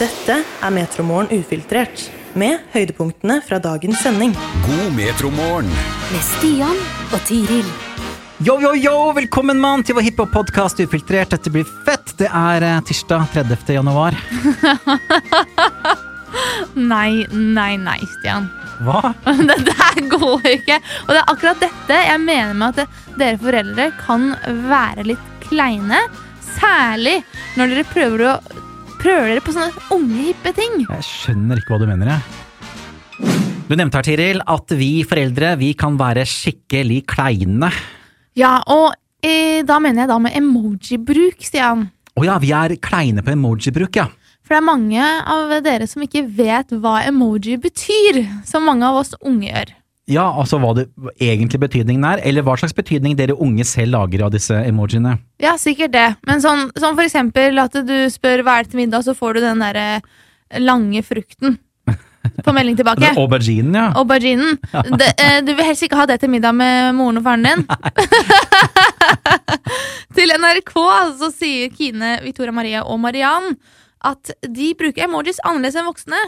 Dette er Metromorgen ufiltrert, med høydepunktene fra dagens sending. God metromorgen. med Stian og Tiril. Yo, yo, yo! Velkommen mann til vår hiphop-podkast Ufiltrert. Dette blir fett! Det er eh, tirsdag 30. januar. Nei, nei, nei, Stian. Hva? Det der går ikke. Og det er akkurat dette jeg mener med at dere foreldre kan være litt kleine. Særlig når dere prøver å Prøver dere på sånne unge, hippe ting. Jeg skjønner ikke hva du mener, jeg. Du nevnte her, Tiril, at vi foreldre vi kan være skikkelig kleine. Ja, og eh, da mener jeg da med emoji-bruk, Stian. Å ja, vi er kleine på emoji-bruk, ja. For det er mange av dere som ikke vet hva emoji betyr, som mange av oss unge gjør. Ja, altså hva det hva egentlig betydningen er, eller hva slags betydning dere unge selv lager av disse emojiene. Ja, sikkert det. Men sånn, sånn for eksempel at du spør hva er det til middag, så får du den derre lange frukten på melding tilbake. Den Auberginen, ja. Auberginen. Det, eh, du vil helst ikke ha det til middag med moren og faren din. til NRK så sier Kine, Victoria Maria og Mariann at de bruker emojis annerledes enn voksne.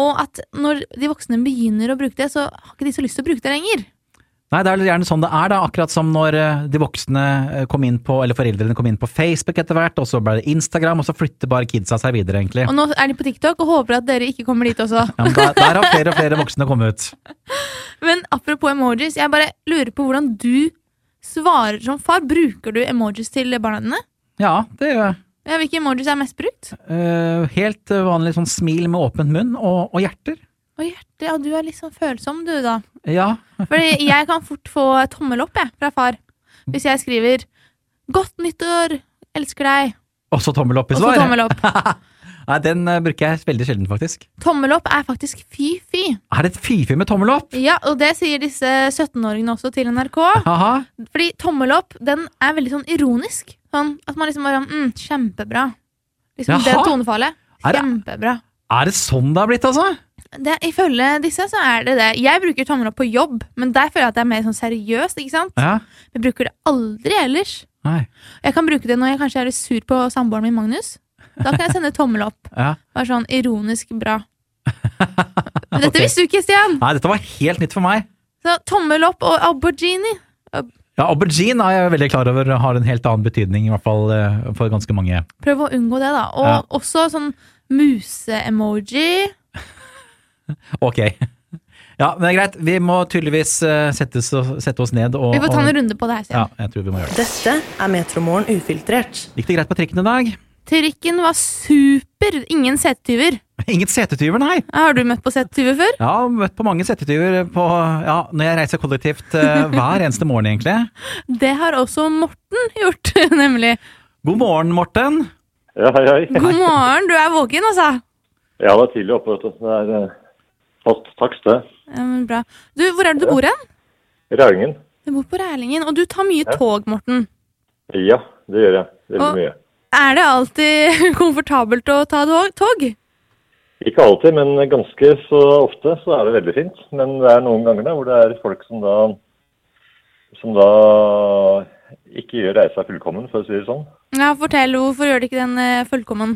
Og at når de voksne begynner å bruke det, så har ikke de så lyst til å bruke det lenger. Nei, det er vel gjerne sånn det er, da. Akkurat som når eh, de voksne eh, kom inn på, eller foreldrene kom inn på Facebook etter hvert, og så ble det Instagram, og så flytter bare kidsa seg videre, egentlig. Og nå er de på TikTok og håper at dere ikke kommer dit også. Ja, men der, der har flere og flere voksne kommet ut. Men apropos emojis, jeg bare lurer på hvordan du svarer som far. Bruker du emojis til barna dine? Ja, det gjør jeg. Ja, Hvilke emojis er mest brukt? Eh, helt eh, vanlig sånn smil med åpen munn, og, og hjerter. Å, hjerte, ja, du er litt sånn følsom, du, da. Ja. Fordi jeg kan fort få tommel opp jeg, fra far. Hvis jeg skriver 'Godt nyttår, elsker deg', Og så tommel opp og i så svar. tommel opp. Nei, den eh, bruker jeg veldig sjelden, faktisk. Tommel opp er faktisk fy-fy. Er det et fy-fy med tommel opp? Ja, og det sier disse 17-åringene også til NRK. Haha. Fordi tommel opp den er veldig sånn ironisk. Sånn at man liksom bare mm, 'Kjempebra'. Liksom det Jaha. tonefallet. Er det- Kjempebra. Er det sånn det har blitt, altså? Det, ifølge disse så er det det. Jeg bruker tommel opp på jobb, men der føler jeg at det er mer sånn seriøst. ikke sant? Ja. Vi bruker det aldri ellers. Nei. Jeg kan bruke det når jeg kanskje er litt sur på samboeren min Magnus. Da kan jeg sende tommel opp. Ja. Bare sånn ironisk bra. Men Dette visste du ikke, Stian! Nei, dette var helt nytt for meg. Så tommel opp og aubergine. Ja, Aubergine er jeg veldig klar over har en helt annen betydning, i hvert fall eh, for ganske mange. Prøv å unngå det, da. Og Ja. også sånn muse-emoji. Ok. Ja, men det er greit. Vi må tydeligvis eh, settes, og- sette oss ned og Vi får ta en runde på det her, Ja, Stian. jeg tror vi må gjøre det. Dette er Metromorgen ufiltrert. Gikk det greit på trikken i dag? Trikken var super. Ingen setetyver. Ingen setetyver, nei! Har du møtt på setetyver før? Ja, møtt på mange setetyver på, ja, når jeg reiser kollektivt eh, hver eneste morgen, egentlig. Det har også Morten gjort, nemlig. God morgen, Morten! Ja, hei, hei. God morgen, du er våken, altså. Jeg var tidlig oppe, vet du. så Det er eh, fast takst, det. Ja, men bra. Du, hvor er det du bor hen? Rælingen. Du bor på Rælingen, og du tar mye tog, Morten. Ja, det gjør jeg. Veldig Og- mye. Er det alltid komfortabelt å ta tog- tog? Ikke alltid, men ganske så ofte så er det veldig fint. Men det er noen ganger da, hvor det er folk som da, som da ikke gjør reisa fullkommen, for å si det sånn. Ja, fortell, hvorfor gjør det ikke den eh, fullkommen?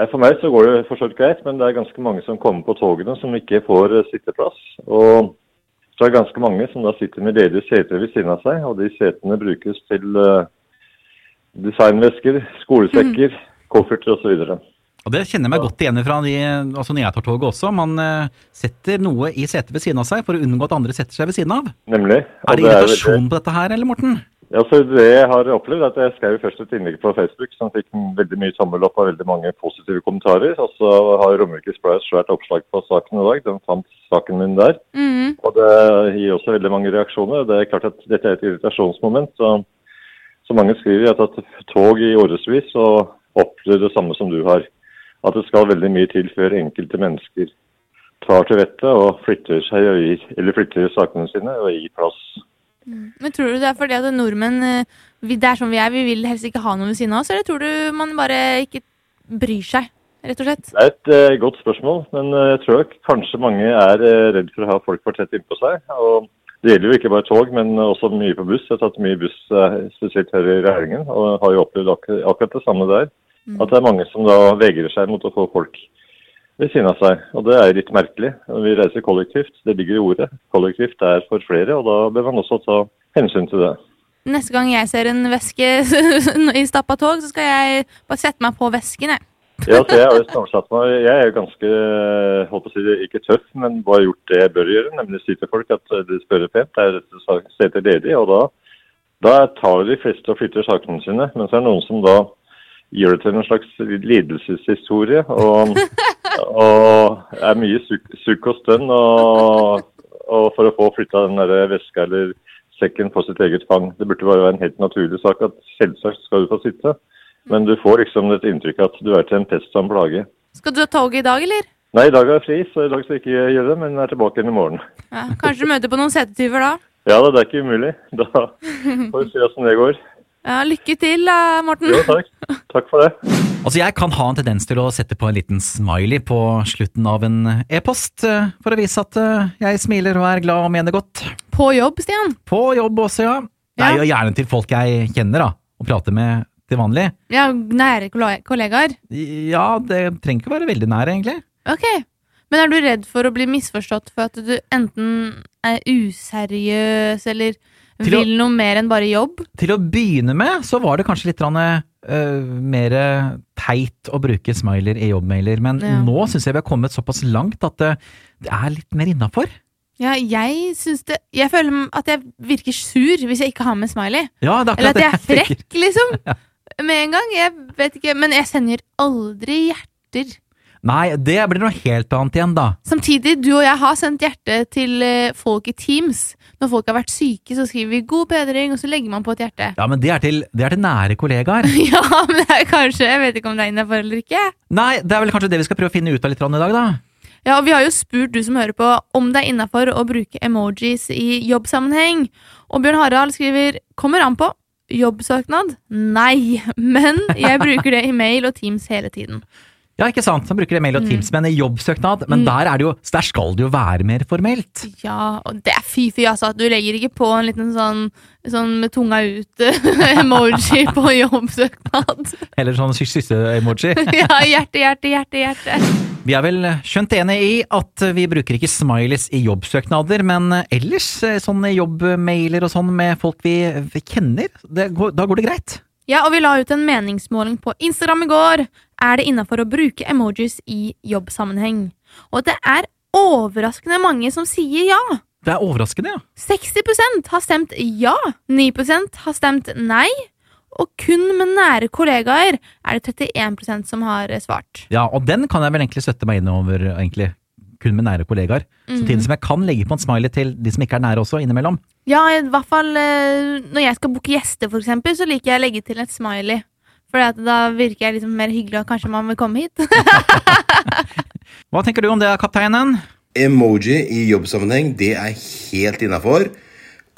Eh, For meg så går det fortsatt greit, men det er ganske mange som kommer på togene som ikke får eh, sitteplass. Og så er det ganske mange som da sitter med ledige seter ved siden av seg, og de setene brukes til eh, designvesker, skolesekker, Mhm. kofferter osv. Og Det kjenner jeg meg godt igjen fra de, altså når jeg tar toget også. Man eh, setter noe i setet ved siden av seg for å unngå at andre setter seg ved siden av. Nemlig. og Er det det er irritasjon på dette her, eller, Morten? veldig- Ja, så det jeg har opplevd, er at jeg skrev først et innlegg på Facebook som fikk en veldig mye tommel opp og veldig mange positive kommentarer. Og så har Romerikes Blad et svært oppslag på saken i dag. Den fant saken min der. Mhm. Og det gir også veldig mange reaksjoner. Det er klart at dette er et irritasjonsmoment. Og så mange skriver at, at tog i årevis og opplever det samme som du har. At det skal veldig mye til før enkelte mennesker tar til vettet og flytter seg og gir, eller flytter sakene sine og gir plass. Men tror du det er fordi at nordmenn eh, vi, det er som vi er, vi vil helst ikke ha noen ved siden av oss, eller tror du man bare ikke bryr seg, rett og slett? Det er et eh, godt spørsmål, men eh, jeg tror kanskje mange er eh, redd for å ha folk for tett innpå seg. og Det gjelder jo ikke bare tog, men også mye på buss. Jeg har tatt mye buss, eh, spesielt her i Rælingen, og har jo opplevd akkur- akkurat det samme der. At det er mange som da vegrer seg mot å få folk ved siden av seg. Og det er litt merkelig. Vi reiser kollektivt, det ligger i ordet. Kollektivt er for flere, og da bør man også ta hensyn til det. Neste gang jeg ser en veske i stappa tog, så skal jeg bare sette meg på vesken, jeg. Ja, så jeg har jo snarsatt meg. Jeg er jo ganske, holdt på å si, det, ikke tøff, men bare gjort det jeg bør gjøre, nemlig si til folk at eh, de spørre pent. Det er rett og slett seter ledig, og da, da tar de fleste og flytter sakene sine. Men så er det noen som da gjør det til en slags lidelseshistorie, og, og er mye sukk sukk og stønn, og, og for å få flytta den der veska eller sekken på sitt eget fang. Det burde bare være en helt naturlig sak at selvsagt skal du få sitte. Men du får liksom et inntrykk at du er til en pest og en plage. Skal du ta toget i dag, eller? Nei, i dag er jeg fri, så i dag skal jeg ikke gjøre det, men jeg er tilbake igjen i morgen. Ja, kanskje du møter på noen setetyver da. Ja da, det er ikke umulig. Da får vi se åssen det går. Ja, lykke til, da, Morten. Jo, takk. Takk for det. Altså, jeg kan ha en tendens til å sette på en liten smiley på slutten av en e-post, eh, for å vise at eh, jeg smiler og er glad og mener godt. På jobb, Stian. På jobb også, ja. Ja. Nei, og gjerne til folk jeg kjenner, da, og prater med til vanlig. Ja, nære kolle- kollegaer. Ja, det trenger ikke være veldig nær, egentlig. Ok. Men er du redd for å bli misforstått for at du enten er useriøs eller Til å- vil noe mer enn bare jobb? Til å begynne med så var det kanskje litt uh, mer eh, teit å bruke smiler i jobbmailer, men Ja. nå syns jeg vi har kommet såpass langt at eh, det er litt mer innafor. Ja, jeg syns det Jeg føler at jeg virker sur hvis jeg ikke har med smiley. Ja, det er Eller akkurat at jeg er det tenker. frekk, liksom. Med en gang. Jeg vet ikke. Men jeg sender aldri hjerter. Nei, det blir noe helt annet igjen, da. Samtidig, du og jeg har sendt hjerte til eh, folk i Teams. Når folk har vært syke, så skriver vi 'god bedring', og så legger man på et hjerte. Ja, men det er til, det er til nære kollegaer. Ja, men det er kanskje Jeg vet ikke om det er innafor eller ikke. Nei, det er vel kanskje det vi skal prøve å finne ut av litt grann i dag, da. Ja, og Vi har jo spurt du som hører på om det er innafor å bruke emojis i jobbsammenheng. Og Bjørn Harald skriver 'kommer an på'. Jobbsøknad? Nei, men jeg bruker det i mail og Teams hele tiden. Ja, ikke sant. Han bruker det mail og Teams, men i jobbsøknad. Men der, er det jo, så der skal det jo være mer formelt. Ja, og det er fy-fy, altså. At du legger ikke på en liten sånn, sånn med tunga ut-emoji på jobbsøknad. Eller sånn kysse-emoji. Ja, hjerte, hjerte, hjerte, hjerte. Vi er vel skjønt enige i at vi bruker ikke smileys i jobbsøknader, men ellers eh, sånne jobbmailer og sånn med folk vi vi kjenner, det går, da går det greit. Ja, og vi la ut en meningsmåling på Instagram i går. Er det innafor å bruke emojis i jobbsammenheng? Og det er overraskende mange som sier ja. Det er overraskende, ja. 60 har stemt ja, 9 har stemt nei, og kun med nære kollegaer er det 31 som har eh, svart. Ja, og den kan jeg vel egentlig støtte meg innover, egentlig. Kun med nære kollegaer. Samtidig som jeg kan legge på en smiley til de som ikke er nære også, innimellom. Ja, i hvert fall eh, når jeg skal booke gjester, for eksempel, så liker jeg å legge til et smiley. For da virker jeg liksom mer hyggelig, og kanskje man vil komme hit. Hva tenker du om det, kapteinen? Emoji i jobbsammenheng, det er helt innafor.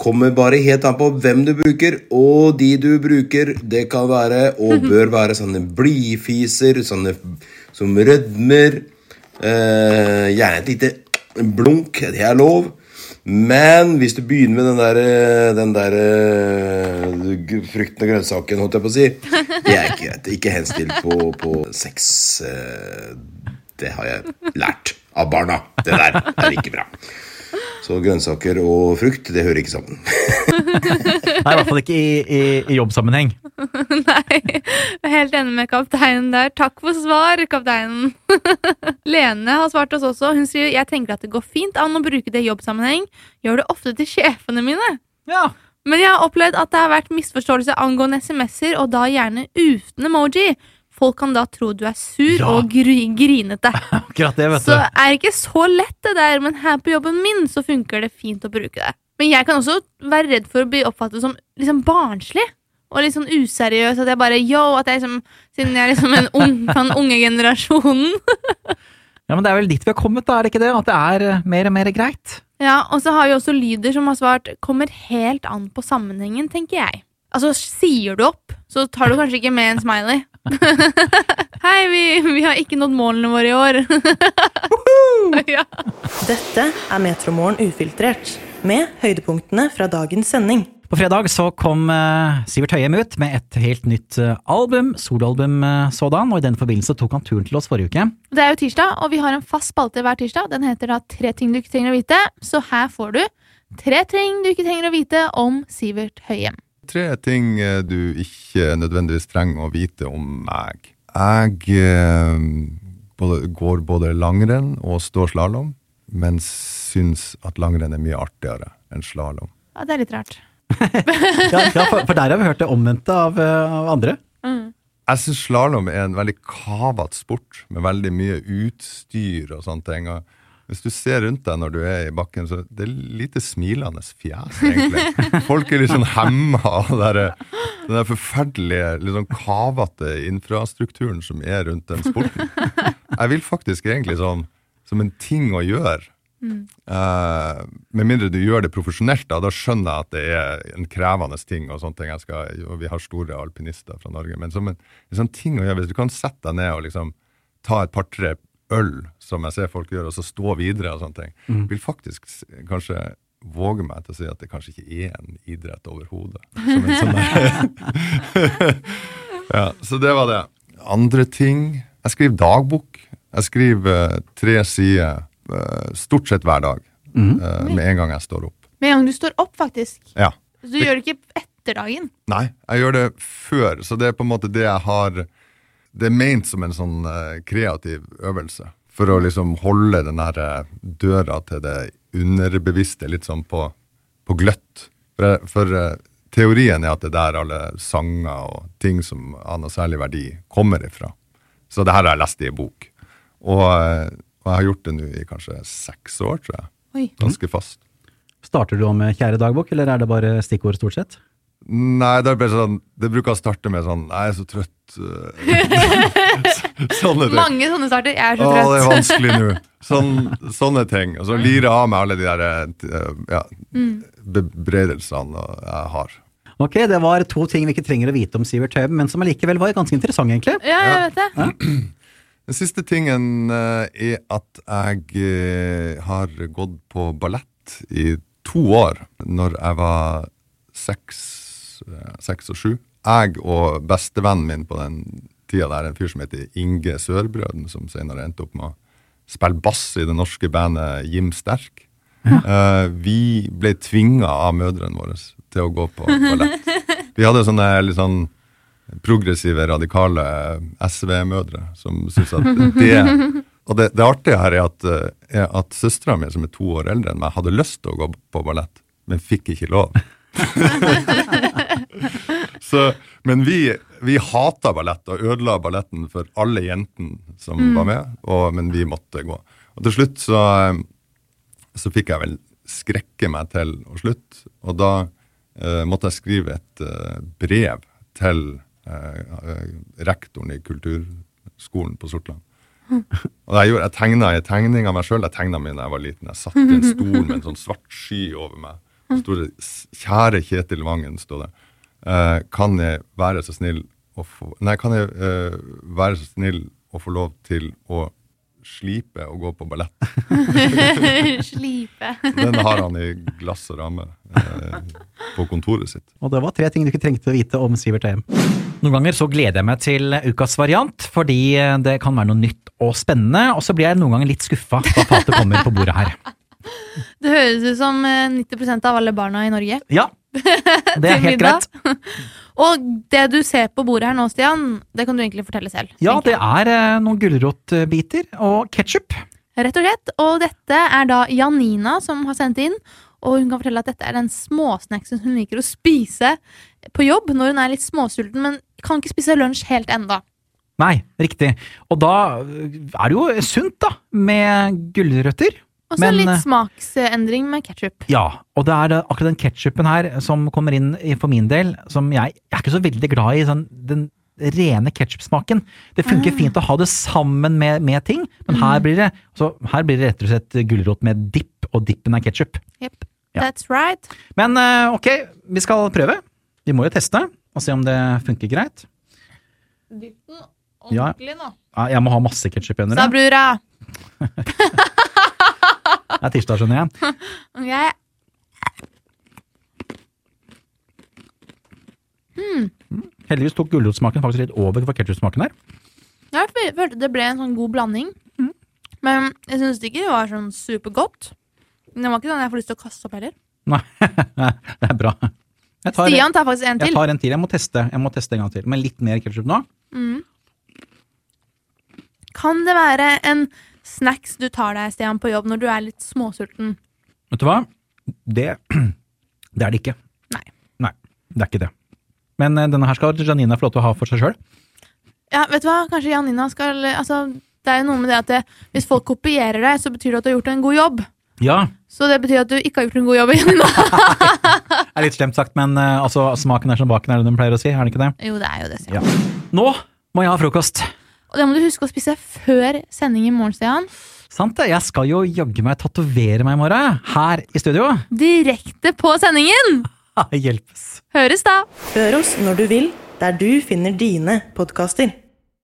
Kommer bare helt an på hvem du bruker, og de du bruker. Det kan være, og bør være, sånne blidfiser, sånne som rødmer. Eh, gjerne et lite blunk, det er lov. Men hvis du begynner med den der, eh, den der eh, gr- frukten og grønnsaken, holdt jeg på å si, det er ikke greit. Ikke henstill på, på sex. Eh, det har jeg lært av barna. Det der er ikke bra. Så grønnsaker og frukt, det hører ikke sammen. Nei, i hvert fall ikke i, i, i jobbsammenheng. Nei, jeg er helt enig med kapteinen der. Takk for svar, kapteinen. Lene har svart oss også. Hun sier jeg tenker at det går fint an å bruke det i jobbsammenheng. Gjør det ofte til sjefene mine. Ja, Men jeg har opplevd at det har vært misforståelse angående SMS-er, og da gjerne uten emoji. Folk kan da tro du er sur Ja. og gry grinete. akkurat det, vet Så du. er det ikke så lett det der, men her på jobben min så funker det fint å bruke det. Men jeg kan også være redd for å bli oppfattet som liksom barnslig. Og litt sånn useriøs, at jeg bare yo, at jeg liksom Siden jeg er liksom en ung, fra den unge generasjonen. Ja, men det er vel dit vi har kommet, da, er det ikke det? At det er eh, mer og mer greit. Ja, og så har vi også lyder som har svart 'kommer helt an på sammenhengen', tenker jeg. Altså, sier du opp, så tar du kanskje ikke med en smiley. Hei, vi, vi har ikke nådd målene våre i år. ja. Dette er Metromorgen ufiltrert, med høydepunktene fra dagens sending. På fredag så kom eh, Sivert Høyem ut med et helt nytt eh, album, soloalbum eh, sådan, og i den forbindelse tok han turen til oss forrige uke. Det er jo tirsdag, og vi har en fast spalte hver tirsdag. Den heter da Tre ting du ikke trenger å vite. Så her får du tre ting du ikke trenger å vite om Sivert Høyem. Tre ting eh, du ikke nødvendigvis trenger å vite om meg. Jeg eh, både, går både langrenn og står slalåm, men syns at langrenn er mye artigere enn slalåm. Ja, det er litt rart. Ja, ja for, for der har vi hørt det omvendte av, eh, av andre. Jeg syns slalåm er en veldig kavete sport, med veldig mye utstyr og sånne ting. Og hvis du ser rundt deg når du er i bakken, så det er lite smilende fjes, egentlig. Folk er litt sånn hemma av det der- den der forferdelige, litt sånn kavete infrastrukturen som er rundt den sporten. Jeg vil faktisk egentlig sånn, som en ting å gjøre, Eh, med mindre du gjør det profesjonelt, da, da skjønner jeg at det er en krevende ting. og sånne ting. Jeg skal, og vi har store alpinister fra Norge. Men som en, en sånn ting å gjøre, hvis du kan sette deg ned og liksom ta et par-tre øl, som jeg ser folk gjør, og så stå videre og sånne ting, vil faktisk s- kanskje våge meg til å si at det kanskje ikke er en idrett overhodet. Som en sånn ja, så det var det. Andre ting Jeg skriver dagbok. Jeg skriver eh, tre sider eh, stort sett hver dag. eh, med en gang jeg står opp. Med en gang du står opp, faktisk. Ja. Så du gjør det ikke etter dagen. Nei, jeg gjør det før, så det er på en måte det jeg har Det er ment som en sånn eh, kreativ øvelse. For å liksom holde den her eh, døra til det underbevisste litt sånn på, på gløtt. For, jeg- for eh, teorien er at det er der alle sanger og ting som har noe særlig verdi, kommer ifra. Så det her har jeg lest i en bok. Og, eh, og jeg har gjort det nå i kanskje seks år, tror jeg. Oi. Ganske fast. Starter du med kjære dagbok, eller er det bare stikkord stort sett? Nei, det, er bare sånn, det bruker å starte med sånn Jeg er så trøtt. øh, sånne ting. Mange sånne starter. Jeg er så Å, det trøtt. er vanskelig nå. Sånn, sånne ting. Og så lirer jeg av meg alle de der øh, ja, Mm. bebreidelsene jeg har. Ok, det var to ting vi ikke trenger å vite om Sivert Høyem, men som allikevel var ganske interessante, egentlig. Ja, jeg vet det. Den siste tingen eh, er at jeg eh, har gått på ballett i to år, når jeg var seks, eh, seks og sju. Jeg og bestevennen min på den tida der, en fyr som heter Inge Sørbrøden, som senere endte opp med å spille bass i det norske bandet Jim Sterk. Eh, vi ble tvinga av mødrene våre til å gå på ballett. Vi hadde sånne litt sånn progressive, radikale SV-mødre som syns at det Og det, det artige her er at, eh, er at søstera mi, som er to år eldre enn meg, hadde lyst til å gå på ballett, men fikk ikke lov. Så, men vi, vi hata ballett og ødela balletten for alle jentene som var med, og, men vi måtte gå. Og til slutt så, eh, så fikk jeg vel skrekke meg til å slutte, og da eh, måtte jeg skrive et eh, brev til eh, eh, rektoren i kulturskolen på Sortland. Og jeg, gjorde, jeg tegna en tegning av meg sjøl. Jeg tegna meg da jeg var liten. Jeg satt i en stol med en sånn svart sky over meg. Så sto det 'Kjære Kjetil Vangen'. Stod det. Eh, kan jeg være så snill å få Nei, kan jeg eh, være så snill å få lov til å slipe og gå på ballett? Slipe. Den har han i glass og ramme eh, på kontoret sitt. Og det var tre ting du ikke trengte å vite om Sivert Høyem. Noen ganger så gleder jeg meg til ukas variant, fordi eh, det kan være noe nytt og spennende, og så blir jeg noen ganger litt skuffa da fatet kommer på bordet her. Det høres ut som eh, 90 av alle barna i Norge. Ja, det er Til helt middag. greit. Og det du ser på bordet her nå, Stian, det kan du egentlig fortelle selv. Ja, tenker det er eh, noen gulrotbiter og ketsjup. jeg. Rett og slett. Og dette er da Janina som har sendt inn. Og hun kan fortelle at dette er den småsnacksen hun liker å spise på jobb når hun er litt småsulten, men kan ikke spise lunsj helt enda. Nei, riktig. Og da eh, er det jo sunt, da, med gulrøtter. Og så Men, litt eh, smaksendring med ketsjup. Ja, og det er eh, akkurat den ketsjupen her som kommer inn i- for min del, som jeg, jeg er ikke så veldig glad i sånn, den rene ketsjupsmaken. Det funker fint å ha det sammen med, med ting, men her blir det altså, her blir det rett og slett gulrot med dipp, og dippen er ketsjup. Yep. Ja. That's right. Men eh, ok, vi skal prøve. Vi må jo teste og se om det funker greit. Ja. nå. Ja, Jeg må ha masse ketsjup igjen. Sa dere. brura. Det er tirsdag, skjønner jeg. Jeg Heldigvis tok gulrotsmaken faktisk litt over for ketsjupsmaken her. Jeg fø- følte det ble en sånn god blanding. Mm. Men jeg syns ikke det var sånn supergodt. Men det var ikke sånn jeg får lyst til å kaste opp heller. Nei, det er bra. Jeg tar, Stian tar faktisk en jeg til. tar en til. Jeg må teste Jeg må teste en gang til, med litt mer ketsjup nå. Kan det være en snacks du tar deg, Stian, på jobb når du er litt småsulten? Vet du hva? Det, det er det ikke. Nei. Nei, det er ikke det. Men eh, denne her skal Janina få lov til å ha for seg sjøl. Ja, vet du hva? Kanskje Janina skal Altså, det er jo noe med det at det, hvis folk kopierer deg, så betyr det at du har gjort en god jobb. Ja, Så det betyr at du ikke har gjort en god jobb, Janina. det er litt slemt sagt, men eh, altså, smaken er som baken, er det de pleier å si? Er det ikke det? jo, det er jo det, Stian. Ja. Nå må jeg ha frokost. Og det må du huske å spise før sending i morgen, Stian. Sant det? Jeg skal jo jaggu meg tatovere meg i morgen. jeg. Her i studio. Direkte på sendingen! Hjelpes. Høres da! Hør oss når du vil, der du finner dine podkaster.